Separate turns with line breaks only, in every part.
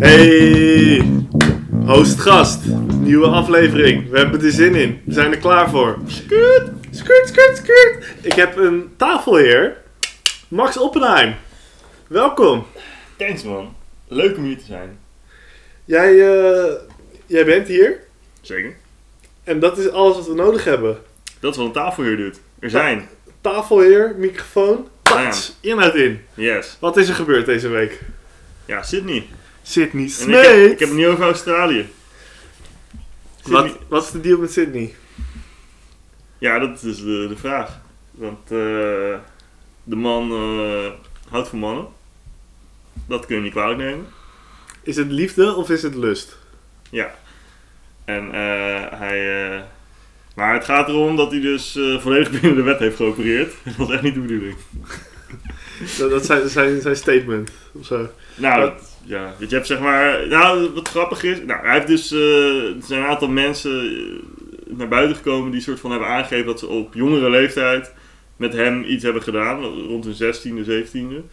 Hey, host-gast. Nieuwe aflevering. We hebben er zin in. We zijn er klaar voor. Skurt, skurt, skurt, skurt. Ik heb een tafelheer. Max Oppenheim. Welkom.
Thanks man. Leuk om hier te zijn.
Jij, eh, jij bent hier.
Zeker.
En dat is alles wat we nodig hebben.
Dat is wat een tafelheer doet. Er zijn.
Tafelheer, microfoon. Pats, inhoud in.
Yes.
Wat is er gebeurd deze week?
Ja, Sydney.
Sydney
En ik, heb,
Smeet.
ik heb het niet over Australië. Sydney-
Wat, wat is de deal met Sydney?
Ja, dat is dus de, de vraag. Want eh, de man eh, houdt van mannen. Dat kun je niet kwalijk nemen.
Is het liefde of is het lust?
En eh, hij... eh, maar het gaat erom dat hij dus eh, volledig binnen de wet heeft geopereerd. Dat is echt niet de bedoeling.
Dat, dat zijn, zijn, zijn statement. Of zo.
Nou,
Wat?
dat- ja. Weet je, je hebt zeg maar. Nou, wat grappig is. Nou, hij heeft dus. eh, er zijn een aantal mensen eh, naar buiten gekomen die soort van hebben aangegeven dat ze op jongere leeftijd met hem iets hebben gedaan. Rond hun 16e, 17e.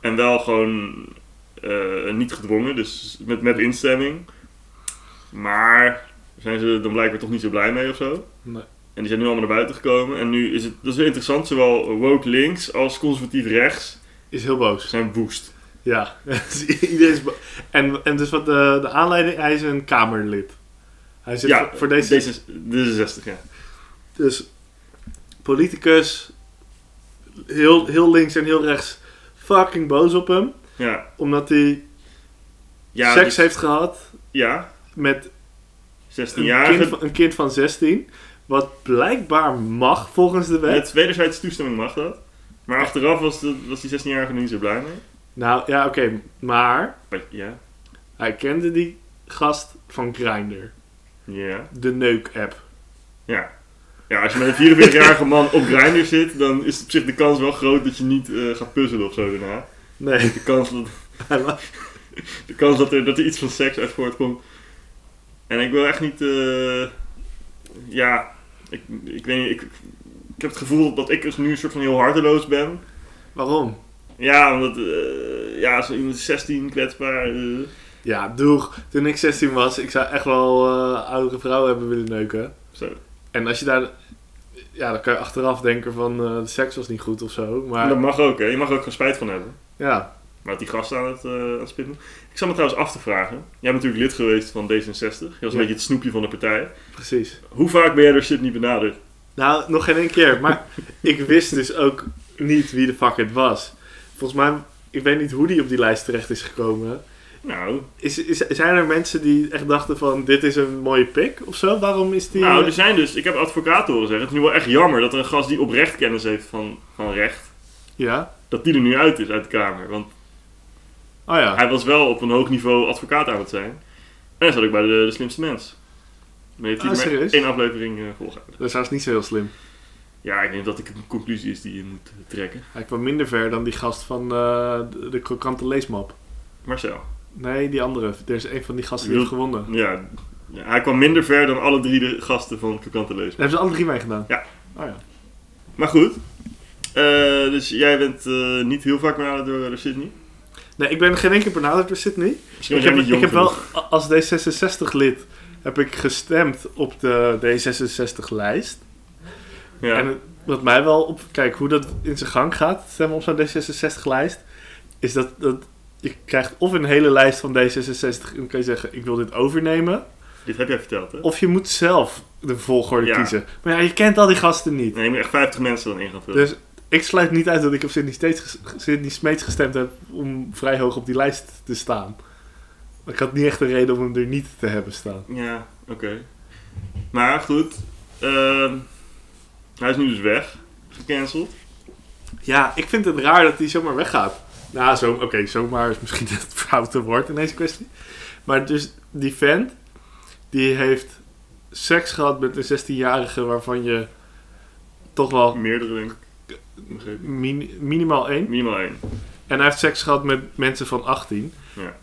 En wel gewoon eh, niet gedwongen, dus met, met instemming. Maar zijn ze er dan blijkbaar toch niet zo blij mee of zo.
Nee.
En die zijn nu allemaal naar buiten gekomen. En nu is het. Dat is weer interessant, zowel woke links als conservatief rechts
Is heel boos.
zijn woest.
Ja, iedereen is bo- en, en dus wat de, de aanleiding, hij is een Kamerlid. Hij zit voor, voor deze,
deze, deze 60 ja.
Dus politicus, heel, heel links en heel rechts, fucking boos op hem.
Ja,
Omdat hij
ja
seks
dus-
heeft gehad
Ja,
met een,
16-jarige.
kind, van- een kind van 16. Wat blijkbaar mag volgens de wet.
Met wederzijdse toestemming mag dat. Maar achteraf was, de, was die 16-jarige er niet zo blij mee.
Nou ja, oké, maar
Maar ja,
hij kende die gast van Grindr,
ja.
de neuk-app.
Ja, als je met een 44-jarige man op Grindr zit, dan is op zich de kans wel groot dat je niet eh, gaat puzzelen of zo daarna.
Nee,
De kans dat,
hij mag-
de kans dat, er, dat er iets van seks uit voortkomt. En ik wil echt niet... eh, ja, ik, ik weet niet... Ik, ik heb het gevoel dat ik dus nu een soort van heel harteloos ben.
waarom?
Ja, omdat eh, ja, zo iemand is 16 kwetsbaar. eh.
Ja, doeg. Toen ik 16 was, ik zou echt wel eh, oudere vrouwen hebben willen neuken.
zo.
En als je daar... Ja, dan kan je achteraf denken van eh, de seks was niet goed of zo. Maar
Dat mag ook, hè. je mag er ook geen spijt van hebben.
ja,
Maar die gast aan het, eh aan het spinnen. Ik zat me trouwens af te vragen. Jij bent natuurlijk lid geweest van D66. Je was een
Ja.
beetje het snoepje van de partij.
precies.
Hoe vaak ben jij door shit niet benaderd?
Nou, nog geen één keer. Maar ik wist dus ook niet wie de fuck het was. Volgens mij, ik weet niet hoe die op die lijst terecht is gekomen.
Nou,
Is, is, zijn er mensen die echt dachten van, dit is een mooie pik of zo? Waarom is die...
nou, er zijn dus... Ik heb advocaten horen zeggen. Het is nu wel echt jammer dat er een gast die oprecht kennis heeft van, van recht...
Ja?
dat die er nu uit is uit de Kamer. Want
Oh ja.
hij was wel op een hoog niveau advocaat aan het zijn. En hij zat ook bij de, de slimste mens. Maar heeft hij
Ah,
maar
serieus?
één aflevering eh volgehouden.
Dat is trouwens niet zo heel slim.
Ja, ik denk dat ik een conclusie is die je moet eh, trekken.
Hij kwam minder ver dan die gast van eh, de, de krokante leesmap.
Marcel.
Nee, die andere. Er is een van die gasten die
Je
heeft gewonnen. Daar
Ja, ja, hij kwam minder ver dan alle drie de gasten van Krokante Lezen.
hebben ze alle drie mee gedaan.
Ja.
Oh ja.
Maar goed. eh, dus jij bent eh, niet heel vaak benaderd door eh, Sydney.
Nee, ik ben geen enkele benaderd door Sydney.
Misschien
Ik
was jij
heb,
niet jong
ik heb wel
genoeg.
a- als D66-lid heb ik gestemd op de D66-lijst.
Ja.
En het- wat mij wel op... Kijk, hoe dat in zijn gang gaat, stemmen op zo'n D66-lijst, is dat, dat je krijgt of een hele lijst van D66 en dan kan je zeggen, ik wil dit overnemen.
Dit heb jij verteld, hè?
Of je moet zelf de volgorde
Ja.
kiezen. Maar ja, je kent al die gasten niet.
Nee, je moet echt 50 mensen dan in gaan vullen.
Dus ik sluit niet uit dat ik op Sydney, Steeds ges- Sydney Smeets gestemd heb om vrij hoog op die lijst te staan. Maar Ik had niet echt een reden om hem er niet te hebben staan.
Ja, oké. Maar goed. ehm, hij is nu dus weg. Gecanceld.
Ja, ik vind het raar dat hij zomaar weggaat. Nou, zo, oké, zomaar is misschien het foute woord in deze kwestie. Maar dus die vent, die heeft seks gehad met een 16-jarige waarvan je toch wel
Meerdere, denk ik. Begrepen.
min- minimaal één
Minimaal één.
En hij heeft seks gehad met mensen van 18.
Ja.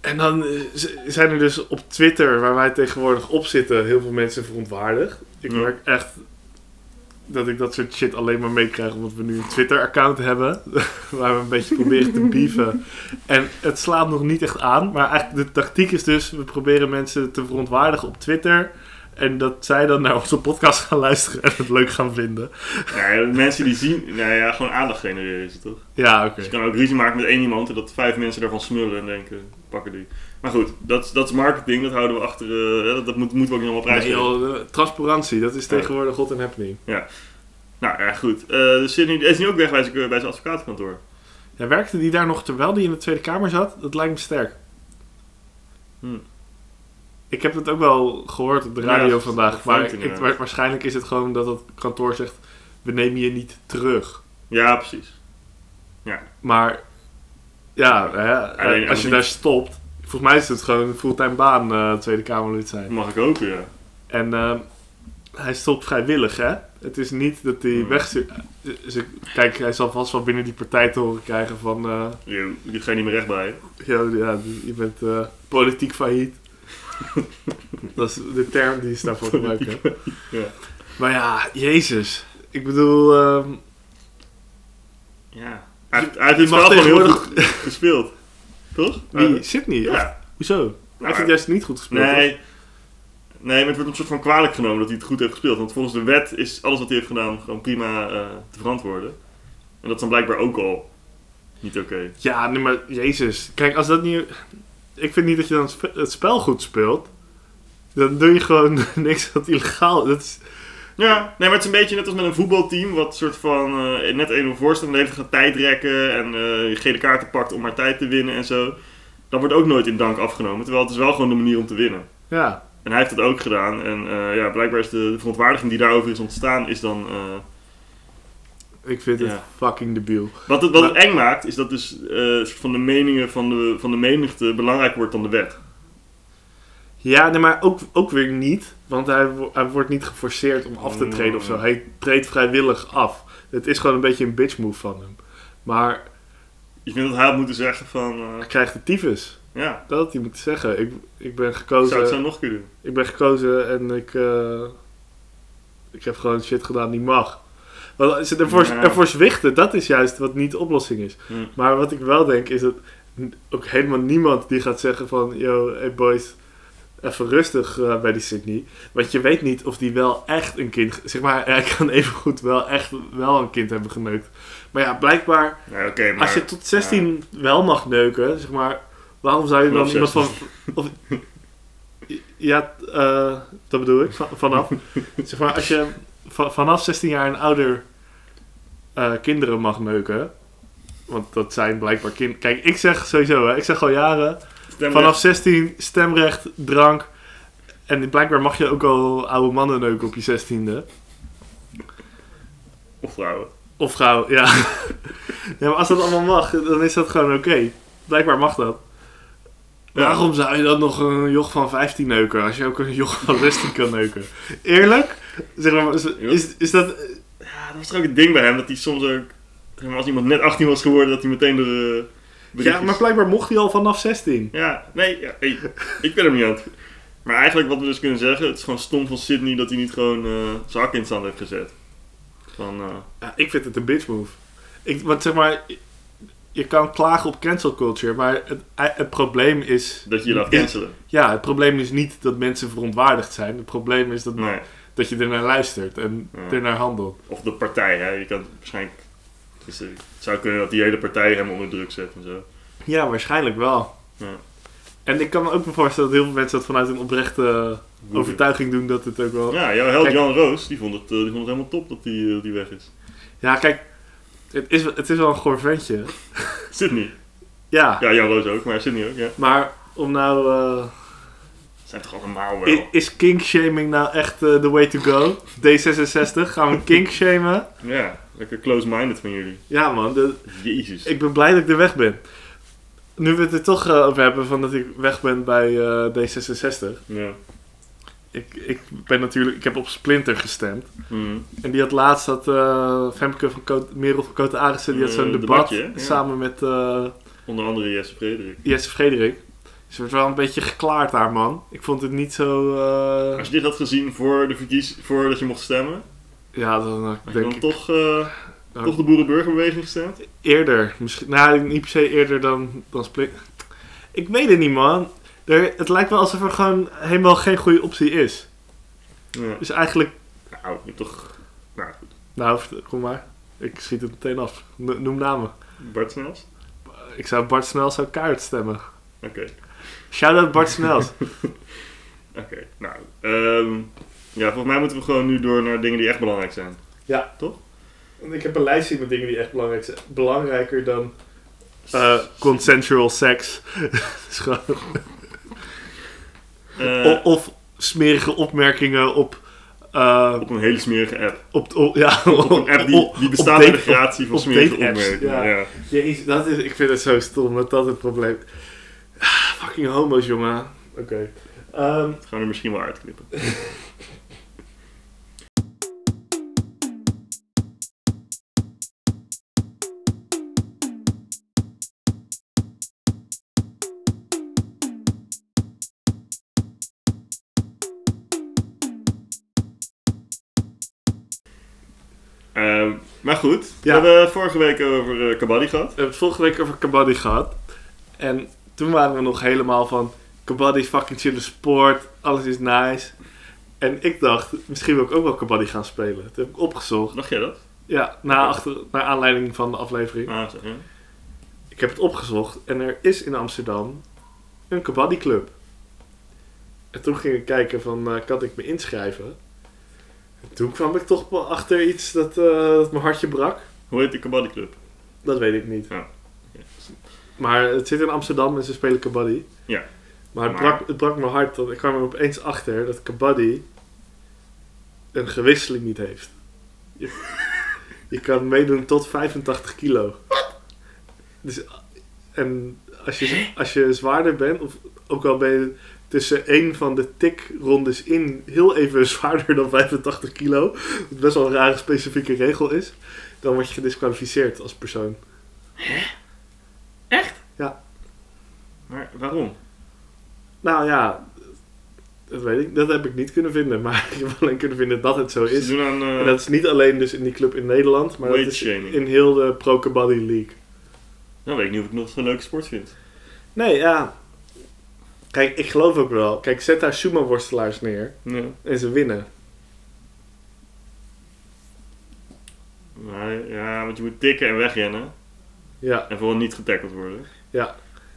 En dan eh, z- zijn er dus op Twitter, waar wij tegenwoordig op zitten, heel veel mensen verontwaardigd. Ik
Ja.
merk echt dat ik dat soort shit alleen maar meekrijg omdat we nu een Twitter-account hebben. waar we een beetje proberen te bieven. En het slaat nog niet echt aan. Maar eigenlijk de tactiek is dus, we proberen mensen te verontwaardigen op Twitter. En dat zij dan naar onze podcast gaan luisteren en het leuk gaan vinden.
Nou ja, mensen die zien, nou ja, gewoon aandacht genereren is het toch?
Ja, oké.
Dus je kan ook ruzie maken met één iemand en dat vijf mensen daarvan smullen en denken, pakken die. Maar goed, dat, is- dat is marketing, dat houden we achter, eh, hè, dat, dat moet, moeten we ook niet allemaal
Nee,
prijzen.
joh, eh, transparantie, dat is tegenwoordig hot and happening.
nou ja, goed. Eh dus Sidney is nu ook weg bij zijn, bij zijn advocatenkantoor.
Ja, werkte die daar nog terwijl die in de Tweede Kamer zat? Dat lijkt me sterk.
Hmm.
Ik heb het ook wel gehoord op de
Ja,
radio
dat- dat
vandaag. Maar
vormt
ik-
inderdaad.
wa- waarschijnlijk is het gewoon dat het kantoor zegt... we nemen je niet terug.
Ja, precies.
Maar ja, hè, eh,
Alleen
als je
niet.
daar stopt... Volgens mij is het gewoon een fulltime baan eh, Tweede Kamerlid
Dat
zijn.
mag ik ook, ja.
En eh, hij stopt vrijwillig, hè? Het is niet dat hij
Hmm.
wegstuurt. Eh, ze- Kijk, hij zal vast wel binnen die partij te horen krijgen van... eh,
Je, je ga je niet meer recht bij.
Ja, ja je bent eh, politiek failliet. dat is de term die ze daarvoor gebruiken.
ja.
Maar ja, jezus. Ik bedoel, ehm,
Ja. Hij, heeft- hij heeft het
mag
spel gewoon heel
tegenwoordig-
goed gespeeld. Toch?
wie
Eh,
zit niet?
ja. Nou,
Hoezo? Hij heeft het juist niet goed gespeeld.
Nee. Nee, maar het wordt een soort van kwalijk genomen dat hij het goed heeft gespeeld. Want volgens de wet is alles wat hij heeft gedaan gewoon prima eh, te verantwoorden. En dat is dan blijkbaar ook al niet oké.
toch? Ja, nee, maar jezus. Kijk, als dat niet... Ik vind niet dat je dan spe- het spel goed speelt. Dan doe je gewoon niks wat illegaal dat is.
Ja, nee, maar het is een beetje net als met een voetbalteam wat soort van eh, net 1-0 voor staat en de hele tijd gaat tijdrekken en eh, gele kaarten pakt om maar tijd te winnen en zo. Dat wordt ook nooit in dank afgenomen, terwijl het is wel gewoon de manier om te winnen.
Ja,
En hij heeft dat ook gedaan. En eh, ja, blijkbaar is de, de verontwaardiging die daarover is ontstaan, is dan... eh,
ik vind het
Ja.
fucking debiel.
wat het, wat het eng maakt, is dat dus eh, een soort van de meningen van de, van de menigte belangrijker wordt dan de wet.
Ja, nee, maar ook, ook weer niet. Want hij, wo- hij wordt niet geforceerd om af te
Mm.
treden of zo. Hij treedt vrijwillig af. Het is gewoon een beetje een bitch move van hem. Maar
Ik vind dat hij had moeten zeggen van... eh,
hij krijgt de tyfus.
ja,
Dat had hij moeten zeggen. Ik, ik ben
ik zou het
gekozen.
zo nog kunnen doen.
Ik ben gekozen en ik, eh, ik heb gewoon shit gedaan die mag. Want ze ervoor,
Ja.
ervoor zwichten, dat is juist wat niet de oplossing is.
Hm.
Maar wat ik wel denk is dat n- ook helemaal niemand die gaat zeggen van... Yo, hey boys, even rustig eh, bij die Sydney. Want je weet niet of die wel echt een kind... Zeg maar, hij kan evengoed wel echt wel een kind hebben geneukt. Maar ja, blijkbaar,
Nee, oké, maar...
als je tot 16 wel mag neuken, zeg maar... Waarom zou je dan
Vanaf
iemand van... Of, ja, eh, dat bedoel ik, van- vanaf. zeg maar, als je va- vanaf 16 jaar en ouder eh, kinderen mag neuken... Want dat zijn blijkbaar kinderen... Kijk, ik zeg sowieso, hè, ik zeg al jaren...
Stemrecht-
Vanaf 16, stemrecht, drank. En blijkbaar mag je ook al oude mannen neuken op je 16e.
Of vrouwen.
Of vrouw, ja. ja. Maar als dat allemaal mag, dan is dat gewoon oké. Blijkbaar mag dat.
Ja.
Waarom zou je dan nog een joch van 15 neuken als je ook een joch van 16 kan neuken? Eerlijk? Zeg maar, is, is, is dat.
Ja, dat was toch ook het ding bij hem, dat hij soms ook... zeg maar, als iemand net 18 was geworden, dat hij meteen door de...
Ja,
berichtjes-
maar blijkbaar mocht hij al vanaf 16.
Ja, nee, ja, hey, ik ben hem niet aan het... Maar eigenlijk wat we dus kunnen zeggen, het is gewoon stom van Sydney dat hij niet gewoon eh zijn hak in het zand heeft gezet. Van, eh,
Ja, ik vind het een bitch move. Ik, want zeg maar, je kan klagen op cancel culture, maar het, het probleem is.
dat je je laat
is-
cancelen.
Ja, het probleem is niet dat mensen verontwaardigd zijn. Het probleem is dat,
Nee.
dat je ernaar luistert en
Ja.
ernaar handelt.
Of de partij, hè. Je kan waarschijnlijk... Dus, eh, het zou kunnen dat die hele partij hem onder druk zet en zo.
Ja, waarschijnlijk wel.
Ja.
En ik kan me ook me voorstellen dat heel veel mensen dat vanuit een oprechte overtuiging doen dat het ook wel... Ja,
Ja, jouw held
Kijk-
Jan Roos, die vond, het, eh, die vond het helemaal top dat die, eh, dat die weg is.
kijk, het is, het is wel een goor ventje.
Sydney.
Ja,
Ja, Jan Roos ook, maar Sydney ook, ja.
maar om nou... eh,
Zijn toch allemaal wel...
i- is kinkshaming nou echt eh, the way to go? D66, gaan we kinkshamen?
Ja, lekker close-minded van jullie.
Ja man, de-
Jezus.
ik ben blij dat ik er weg ben. Nu we het er toch eh, over hebben van dat ik weg ben bij eh, D66.
Ja.
Ik, ik ben natuurlijk... Ik heb op Splinter gestemd.
Hm.
En die had laatst dat eh, Femke van Koot, Merel van Koot Arissen, die had zo'n
Eh,
debat
debatje, hè? Ja.
samen met eh,
Onder andere Jesse Frederik.
Jesse Frederik. Ze werd wel een beetje geklaard daar, man. Ik vond het niet zo... eh,
Als je dit had gezien voor de verkies, voordat je mocht stemmen,
Ja, dan
Heb je
denk
dan
ik
toch, eh,
Nou,
toch de boerenburgerbeweging gestemd?
eerder. Misschien, nou, niet per se eerder dan, dan Split. Ik weet het niet, man. Er, het lijkt wel alsof er gewoon helemaal geen goede optie is.
Ja.
Dus eigenlijk...
Nou, je hebt toch... Nou goed,
Nou, vert- kom maar. Ik schiet het meteen af. No- Noem namen. Eh,
Bart Snels?
Ik zou Bart Snels zou kaart stemmen.
Oké,
Shout-out Bart Snels.
oké. Nou, ehm, ja, volgens mij moeten we gewoon nu door naar dingen die echt belangrijk zijn.
ja,
Toch?
Ik heb een lijstje met dingen die echt belangrijk zijn. Belangrijker dan... eh, consensual seks. Is gewoon-
Eh,
O- of smerige opmerkingen op... eh,
op een hele smerige app.
op, op- ja,
Op een app
op-
die, die
op
bestaat uit de
date- op-
gratie van
op
smerige
date-apps,
opmerkingen. Ja.
ja. Jezus, dat is, ik vind het zo stom dat dat het probleem Ah, Fucking homo's, jongen. Oké. Ehm,
Dat gaan we er misschien wel uitknippen. Ehm, maar goed,
Ja.
we hebben vorige week over eh Kabaddi gehad.
we hebben het vorige week over kabaddi gehad. En toen waren we nog helemaal van... Kabaddi is fucking chille sport. Alles is nice. En ik dacht, misschien wil ik ook wel kabaddi gaan spelen. Toen heb ik opgezocht.
Dacht jij dat?
Ja, na achter, naar aanleiding van de aflevering.
Ah, zo, ja.
Ik heb het opgezocht. En er is in Amsterdam een kabaddi-club. En toen ging ik kijken van, eh, kan ik me inschrijven? En toen kwam ik toch wel achter iets dat, eh, dat mijn hartje brak.
Hoe heet de Kabaddi Club?
Dat weet ik niet.
Ja.
Maar het zit in Amsterdam en ze spelen kabaddi.
Ja.
Maar het,
Maar-
Brak, het brak mijn hart, want ik kwam er opeens achter dat kabaddi een gewisseling niet heeft. Je, je kan meedoen tot 85 kilo. Dus, en als je, als je zwaarder bent, of ook al ben je tussen één van de tikrondes in heel even zwaarder dan 85 kilo, wat best wel een rare specifieke regel is, dan word je gedisqualificeerd als persoon.
Maar waarom?
Nou ja, dat weet ik. Dat heb ik niet kunnen vinden. Maar ik heb alleen kunnen vinden dat het zo
Ze
is.
doen aan... eh,
En dat is niet alleen dus in die club in Nederland, maar dat
Weight
is
shaming.
in heel de Pro Kabaddi League.
Nou, weet ik niet of ik nog zo'n leuke sport vind.
Nee, ja. Kijk, ik geloof ook wel. Kijk, zet daar sumo-worstelaars neer
Ja.
en ze winnen.
Maar, ja, want je moet tikken en wegrennen.
Ja,
En vooral niet getackeld worden.
ja.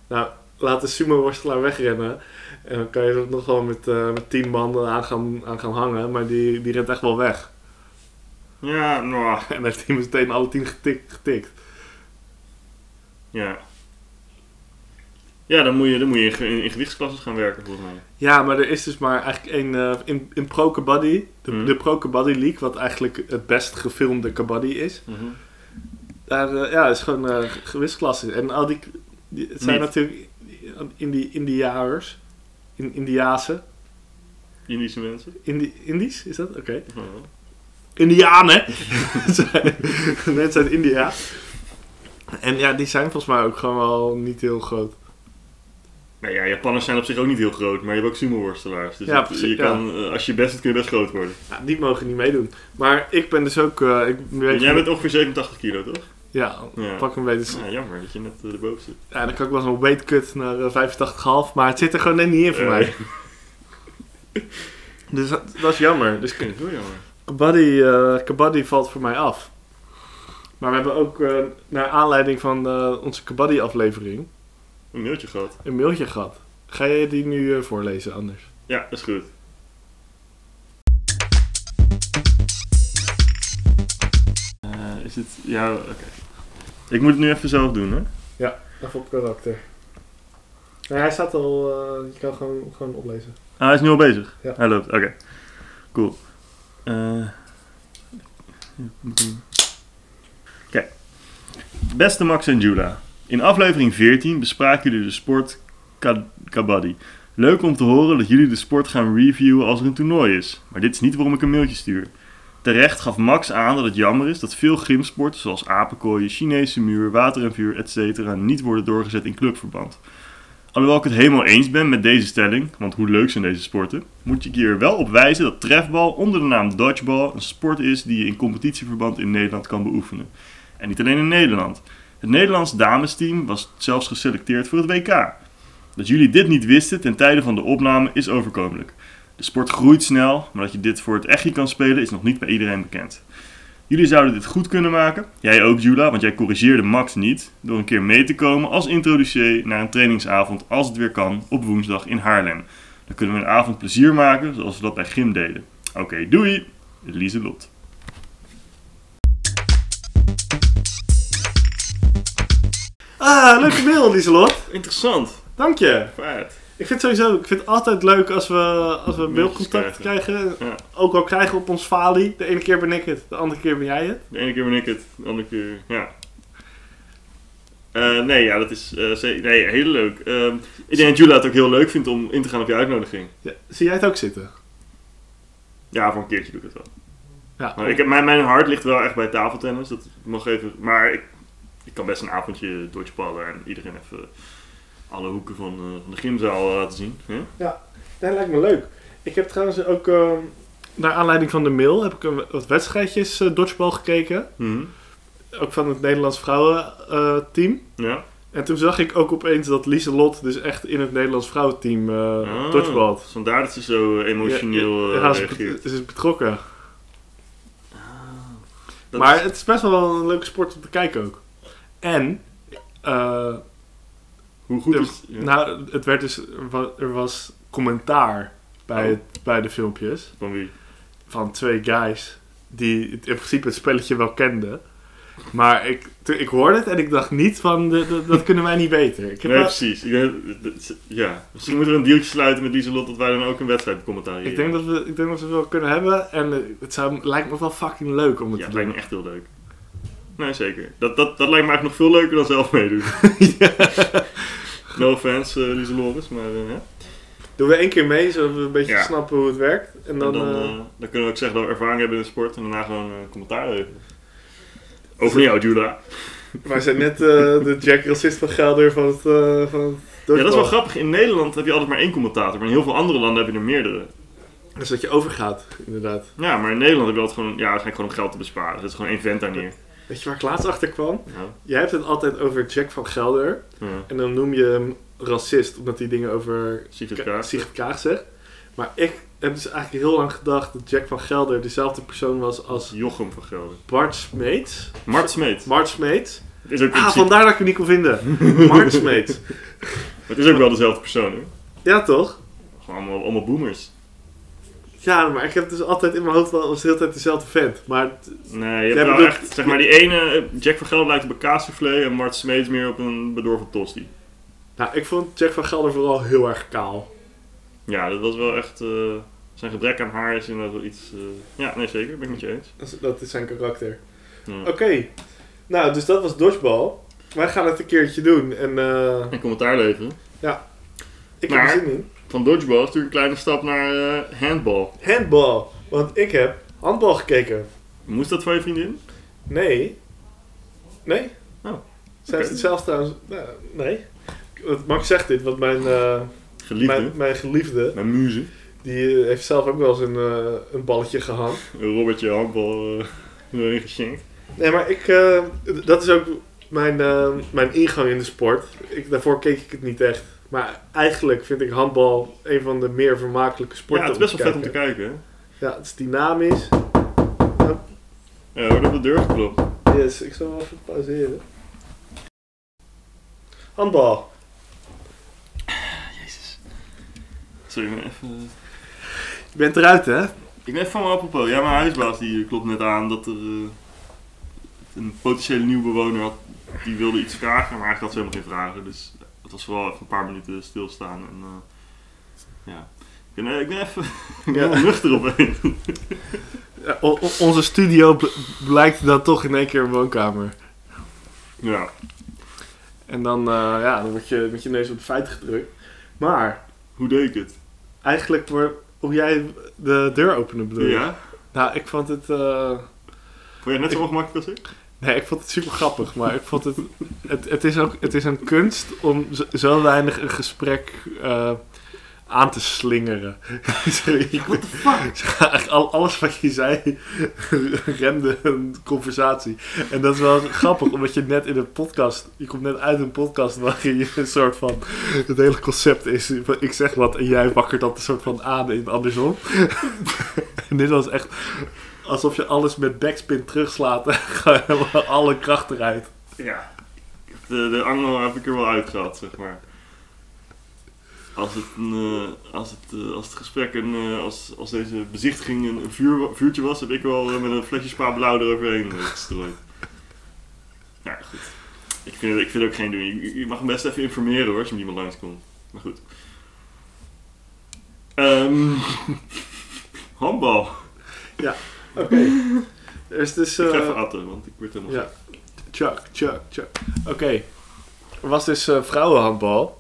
Nou, laat de sumo-worstelaar wegrennen. En dan kan je er nog wel met, eh, met tien man aan gaan, aan gaan hangen. Maar die, die rent echt wel weg.
Ja, nou.
En dan heeft hij meteen alle tien getikt. getikt.
Ja. Ja, dan moet je, dan moet je in, ge- in, in gewichtsklassen gaan werken, volgens mij.
Ja, maar er is dus maar eigenlijk één eh, in, in Pro Kabaddi, de,
Mhm.
de Pro Kabaddi League, wat eigenlijk het best gefilmde kabaddi is.
Mhm.
Daar eh, ja, is gewoon eh gewichtsklasse. En al die, die- het zijn
Niet.
natuurlijk in die Indiaars, in, Indiaanse,
Indische mensen.
Indi, Indisch is dat? Oké.
Volgens mij wel.
Indianen! Zijn- Mensen uit India. En ja, die zijn volgens mij ook gewoon wel niet heel groot.
Nou ja, Japanners zijn op zich ook niet heel groot, maar je hebt ook sumo-worstelaars. Dus
Ja,
het-
precies,
je
ja.
kan, eh, als je best doet, kun je best groot worden.
Ja, die mogen niet meedoen. Maar ik ben dus ook... eh, ik weet
En jij bent ongeveer 87 kilo, toch?
Ja,
Ja.
pak een beetje...
Ja, jammer dat je net eh, de bovenste.
Ja, dan kan ik wel zo'n weight cut naar eh, 85,5, maar het zit er gewoon net niet in voor
Eh,
mij. Dus dat, dat is jammer. Dus
Ik vind het heel jammer.
kabaddi, eh, kabaddi valt voor mij af. Maar we hebben ook, eh, naar aanleiding van eh, onze kabaddi-aflevering,
Een mailtje gehad.
een mailtje gehad. Ga je die nu eh, voorlezen anders?
Ja, dat is goed. Eh, is het... Ja, oké. Ik moet het nu even zelf doen, hè?
Even op karakter. Nee, hij staat al, eh, je kan gewoon, gewoon oplezen.
Ah, hij is nu al bezig?
Ja.
Hij loopt, oké. Cool. Eh, Kijk. Beste Max en Jula. In aflevering 14 bespraken jullie de sport ka- kabaddi. Leuk om te horen dat jullie de sport gaan reviewen als er een toernooi is. Maar dit is niet waarom ik een mailtje stuur. Terecht gaf Max aan dat het jammer is dat veel gymsporten zoals apenkooien, Chinese muur, water en vuur, etc. niet worden doorgezet in clubverband. Alhoewel ik het helemaal eens ben met deze stelling, want hoe leuk zijn deze sporten, moet ik hier wel op wijzen dat trefbal onder de naam dodgeball een sport is die je in competitieverband in Nederland kan beoefenen. En niet alleen in Nederland. Het Nederlands damesteam was zelfs geselecteerd voor het WK. Dat jullie dit niet wisten ten tijde van de opname is overkomelijk. De sport groeit snel, maar dat je dit voor het echtje kan spelen is nog niet bij iedereen bekend. Jullie zouden dit goed kunnen maken, jij ook Jula, want jij corrigeerde Max niet, door een keer mee te komen als introducee naar een trainingsavond als het weer kan op woensdag in Haarlem. Dan kunnen we een avond plezier maken zoals we dat bij Gym deden. Oké, doei! Lieselot.
Ah, leuke mail, Lieselot.
Interessant,
Dank je.
vaart.
Ik vind het sowieso ik vind het altijd leuk als we, als we mailcontact
krijgen.
krijgen.
Ja.
Ook al krijgen we op ons falie. De ene keer ben ik het, de andere keer ben jij het.
De ene keer ben ik het, de andere keer, ja. Eh, nee, ja, dat is eh, ze- nee, heel leuk. Ehm, ik denk dat Jula het ook heel leuk vindt om in te gaan op je uitnodiging.
Ja, zie jij het ook zitten?
Ja, voor een keertje doe ik dat wel.
Ja.
Maar ik, heb- mijn, mijn hart ligt wel echt bij tafeltennis. Dat mag even, maar ik, ik kan best een avondje dodgeballen en iedereen even alle hoeken van, eh, van de gymzaal laten zien. Hè?
Dat lijkt me leuk. Ik heb trouwens ook, ehm, naar aanleiding van de mail, heb ik een, wat wedstrijdjes eh, dodgeball gekeken.
Mhm.
Ook van het Nederlands vrouwenteam.
Ja.
en toen zag ik ook opeens dat Lieselot dus echt in het Nederlands vrouwenteam eh
Ah,
dodgebalt.
Vandaar dat ze zo eh, emotioneel eh,
Ja, ja, ze is
reageert.
bet- ze is betrokken.
Dat
maar
is-
het is best wel een leuke sport om te kijken ook. En, eh,
hoe goed
de-
is het? Ja.
nou, het werd dus, er wa- er was commentaar bij,
Oh.
het, bij de filmpjes
Van wie?
van twee guys die het- in principe het spelletje wel kenden. Maar ik, toen- ik hoorde het en ik dacht niet van, de, de- dat kunnen wij niet beter. Ik heb
Nee,
wel-
precies. Ik denk dat- dat- dat- ja. Misschien moeten we een deeltje sluiten met Lieselot dat wij dan ook een wedstrijd commentariëren.
Ik denk, dat we, ik denk dat we het wel kunnen hebben. En eh, het zou, lijkt me wel fucking leuk om het
Ja,
te
het
doen.
lijkt me echt heel leuk. Nee, zeker. Dat, dat, dat lijkt me eigenlijk nog veel leuker dan zelf meedoen. No offense, eh Lise Loris, maar eh, ja.
Doen we één keer mee, zodat we een beetje
Ja.
snappen hoe het werkt. En
dan,
dan, eh,
eh, dan kunnen we ook zeggen dat we ervaring hebben in de sport en daarna gewoon eh, commentaar leveren. Over jou, Jula.
wij zijn net eh, de Jack Racist van Gelder van het... eh, van het
Ja, dat is wel
dodgeball.
grappig. In Nederland heb je altijd maar één commentator, maar in heel veel andere landen heb je er meerdere.
Dus dat je overgaat, inderdaad.
Ja, maar in Nederland heb je altijd gewoon, ja, waarschijnlijk gewoon om geld te besparen. Dat is gewoon één vent daar neer.
Weet je waar ik laatst achter kwam?
Nou,
Jij hebt het altijd over Jack van Gelder.
ja.
En dan noem je hem racist, omdat hij dingen over
Ziet het
Ka-
graag.
Sigrid Kaag zegt. Maar ik heb dus eigenlijk heel lang gedacht dat Jack van Gelder dezelfde persoon was als
Jochem van Gelder.
Bart Smeets.
Mart Smeet.
Bart Smeets.
Het is ook, in
Ah,
principe-
vandaar dat ik hem niet kon vinden. Bart Smeets.
het is ook wel dezelfde persoon, hoor.
Ja, toch?
Gewoon allemaal, allemaal boomers.
Ja, maar ik heb dus altijd in mijn hoofd wel was de hele tijd dezelfde vent. Maar het-
Nee,
Jij
je hebt wel
bedoelt-
echt, zeg maar die ene, eh, Jack van Gelder lijkt op een kaassoufflé en Mart Smeets meer op een bedorven tosti.
nou, ik vond Jack van Gelder vooral heel erg kaal.
Ja, dat was wel echt, eh, zijn gebrek aan haar is inderdaad wel iets, eh, ja, nee zeker, ben ik met je eens.
Dat is- Dat is zijn karakter.
Ja.
Oké. Nou, dus dat was dodgeball. Wij gaan het een keertje doen. En eh,
En commentaar leveren.
ik
Maar-
heb er zin in.
Van dodgeball is natuurlijk een kleine stap naar eh, handball.
Handball. Want ik heb handbal gekeken.
Moest dat van je vriendin?
Nee. Nee.
Oh,
Zij heeft
oké.
het zelf trouwens... Nou, nee. Want Max zegt dit, want mijn, eh,
Geliefde.
mijn, mijn geliefde...
Mijn muze.
Die eh, heeft zelf ook wel eens een, eh, een balletje gehad.
Een robbertje handbal eh, erin geschenkt.
Nee, maar ik... eh, d- dat is ook mijn, eh, mijn ingang in de sport. Ik, daarvoor keek ik het niet echt. Maar eigenlijk vind ik handbal een van de meer vermakelijke
Ja,
sporten.
het is best wel vet om
kijken.
te kijken. hè.
Ja, het is dynamisch.
Ja, wordt op de deur geklopt.
Yes, ik zal wel even pauzeren. Handbal.
Sorry, ik ben even... eh.
Je bent eruit, hè?
Ik ben even van mijn apropos. Ja, mijn huisbaas die eh, klopt net aan dat er eh, een potentiële nieuwe bewoner had. Die wilde iets vragen, maar eigenlijk had ze helemaal geen vragen. Dus het was vooral even een paar minuten stilstaan. En, eh, ja. Ik ben, eh, ik ben even ik ben
Ja.
nuchter opeens.
Ja, o- o- onze studio bl- blijkt dan toch in één keer een woonkamer.
Ja.
En dan, eh, ja, dan word je met je neus op de feiten gedrukt. Maar,
Hoe deed ik het?
eigenlijk voor, hoe jij de deur openen bedoel je?
Ja?
Nou, ik vond het... eh,
Vond je het net zo ongemakkelijk als ik?
Nee, ik vond het super grappig, maar ik vond het. Het, het is ook het is een kunst om zo, zo weinig een gesprek eh, aan te slingeren. Sorry, ik-
What the fuck?
Eigenlijk al- alles wat je zei remde een conversatie. En dat is wel grappig, omdat je net in een podcast... Je komt net uit een podcast waarin je een soort van... Het hele concept is, ik zeg wat en jij wakkert dat een soort van aan in andersom. En dit was echt alsof je alles met backspin terugslaat en gewoon alle kracht eruit.
Ja. De, de angel heb ik er wel uit gehad, zeg maar. Als het, een, eh, als het, eh, als het gesprek, een, eh, als, als deze bezichtiging een, een vuur, vuurtje was, heb ik wel eh, met een flesje spa blauw eroverheen eh, gestrooid. Nou, goed. Ik vind, het- ik vind het ook geen doen. Je, je mag hem best even informeren hoor, als er iemand langskomt. Maar goed. Ehm handbal.
Oké. Dus het is...
Ik ga
eh,
even atten, want ik word helemaal
Ja. Chuck, chuck, chuck. Oké. Er was dus eh, vrouwenhandbal.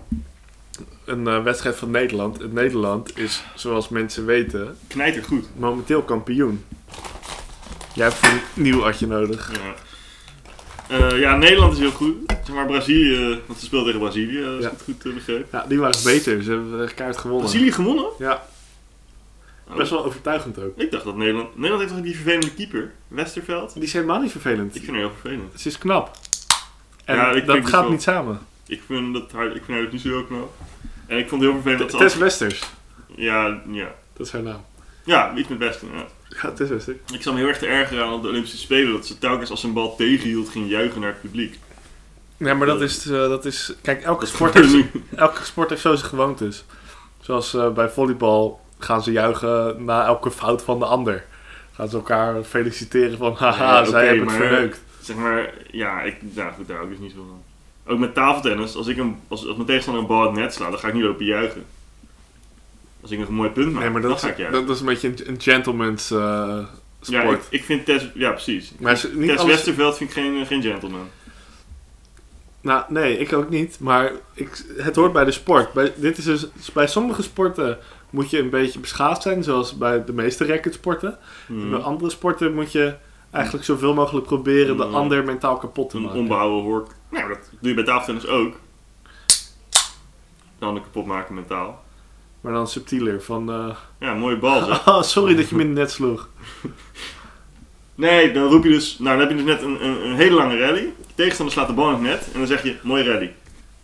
Een eh, wedstrijd van Nederland. En Nederland is, zoals mensen weten,
knijter goed.
momenteel kampioen. Jij hebt een nieuw atje nodig.
Ja. Eh, ja, Nederland is heel goed. Zeg maar Brazilië, want ze speelden tegen Brazilië, als
Ja.
ik het goed eh, begreep.
Ja, die waren beter. Ze hebben echt kaart gewonnen.
Brazilië gewonnen?
Ja,
Oh,
best wel overtuigend ook.
Ik dacht dat Nederland... Nederland heeft toch die vervelende keeper? Westerveld?
Die zijn helemaal niet vervelend.
Ik vind haar heel vervelend.
Ze is knap. En
Ja, ik denk
dat
dus
gaat
wel.
niet samen.
Ik vind, dat haar, ik vind haar dus niet zo heel knap. En ik vond het heel vervelend dat ze...
Tess Westers.
altijd- Ja, ja.
Dat is haar naam.
Ja, iets met Westen, ja.
Ja, Tess Westers.
Ik zat me heel erg te ergeren aan op de Olympische Spelen. Dat ze telkens als ze een bal tegenhield, ging juichen naar het publiek.
Ja, maar dat is... eh, dat is kijk, elke
Dat
sport
gebeurt
heeft
nu.
elke sport heeft zo zijn gewoontes. Zoals eh, bij volleybal gaan ze juichen na elke fout van de ander. Gaan ze elkaar feliciteren van haha,
Ja, oké,
zij hebben het
maar- eh,
verneukt.
Zeg maar, ja, ik, nou goed, daar hou ik dus niet zo van. Ook met tafeltennis, als, ik een, als, als mijn tegenstander een bal in het net slaat, dan ga ik niet lopen juichen. Als ik nog een mooi punt maak,
nee, maar
dan
dat,
nou, ga ik
is,
juichen.
dat is een beetje een, een gentleman's eh,
ja, ik,
sport.
ik vind Tess, ja precies.
maar ze- niet
Tess
alles,
Westerveld vind ik geen, geen gentleman.
Nou, nee, ik ook niet. Maar ik, het hoort bij de sport. Bij, dit is dus, bij sommige sporten moet je een beetje beschaafd zijn, zoals bij de meeste racketsporten.
Hmm.
Bij andere sporten moet je eigenlijk zoveel mogelijk proberen de
Hmm.
ander mentaal kapot te
Een
maken.
onbehouden hork. Nou, dat doe je bij tafeltennis ook. Dan kapot maken mentaal.
Maar dan subtieler, van... eh,
Ja, mooie bal zeg.
Oh, sorry dat je me net sloeg.
Nee, dan roep je dus, nou dan heb je dus net een, een, een hele lange rally. De tegenstander slaat de bal in het net en dan zeg je, mooi rally.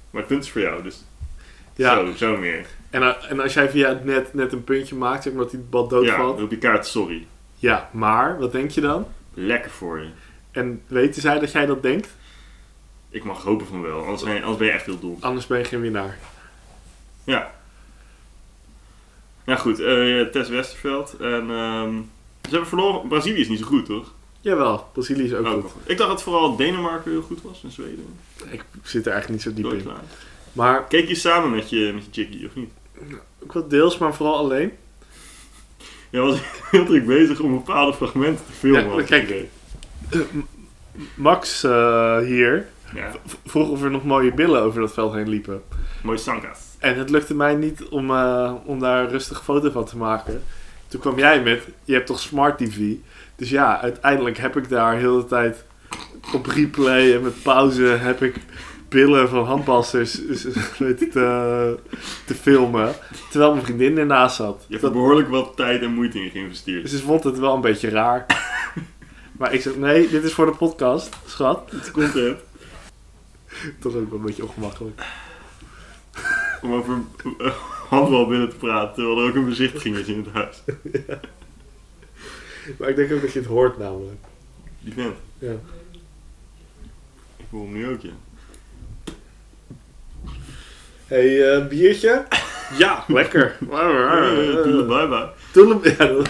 Maar het punt is voor jou, dus
Ja,
zo, zo meer.
en, eh, en als jij via het net, net een puntje maakt, zeg maar dat die bal
ja,
doodvalt.
dan roep je kaart sorry.
Ja, maar, wat denk je dan?
Lekker voor je.
En weten zij dat jij dat denkt?
Ik mag hopen van wel, anders ben je, anders ben je echt heel dom.
Anders ben je geen winnaar.
Ja. Nou goed, eh Tess Westerveld. En, ehm, ze hebben verloren. Brazilië is niet zo goed, toch?
Jawel, Brazilië is ook
Ook
goed.
nog. Ik dacht dat vooral Denemarken heel goed was en Zweden.
Ik zit er eigenlijk niet zo diep in.
Deutschland.
Maar,
Keek je samen met je, met je chickie, of niet?
ook wel deels, maar vooral alleen.
Jij was heel druk bezig om bepaalde fragmenten te filmen.
Ja,
had ik
kijk.
idee.
Eh, Max eh, hier
Ja,
v- vroeg of er nog mooie billen over dat veld heen liepen.
mooi sankas.
En het lukte mij niet om, eh, om daar een rustige foto van te maken. Toen kwam jij met, je hebt toch smart tv? Dus ja, uiteindelijk heb ik daar heel de tijd op replay en met pauze heb ik billen van handballers weten te, te filmen. Terwijl mijn vriendin ernaast zat.
Je hebt er
Dat,
behoorlijk wat tijd en moeite in geïnvesteerd.
dus ze vond het wel een beetje raar. Maar ik zei, nee, dit is voor de podcast, schat.
Het is content
Dat was ook wel een beetje ongemakkelijk.
om over eh, handbal binnen te praten, terwijl er ook een bezichtiging is in het huis.
Maar ik denk ook dat je het hoort namelijk.
Die vent.
Ja.
Ik voel hem nu ook, ja.
hey, eh, biertje? Ja, lekker.
Eh, Doele bye bye.
Toele- ja, dat-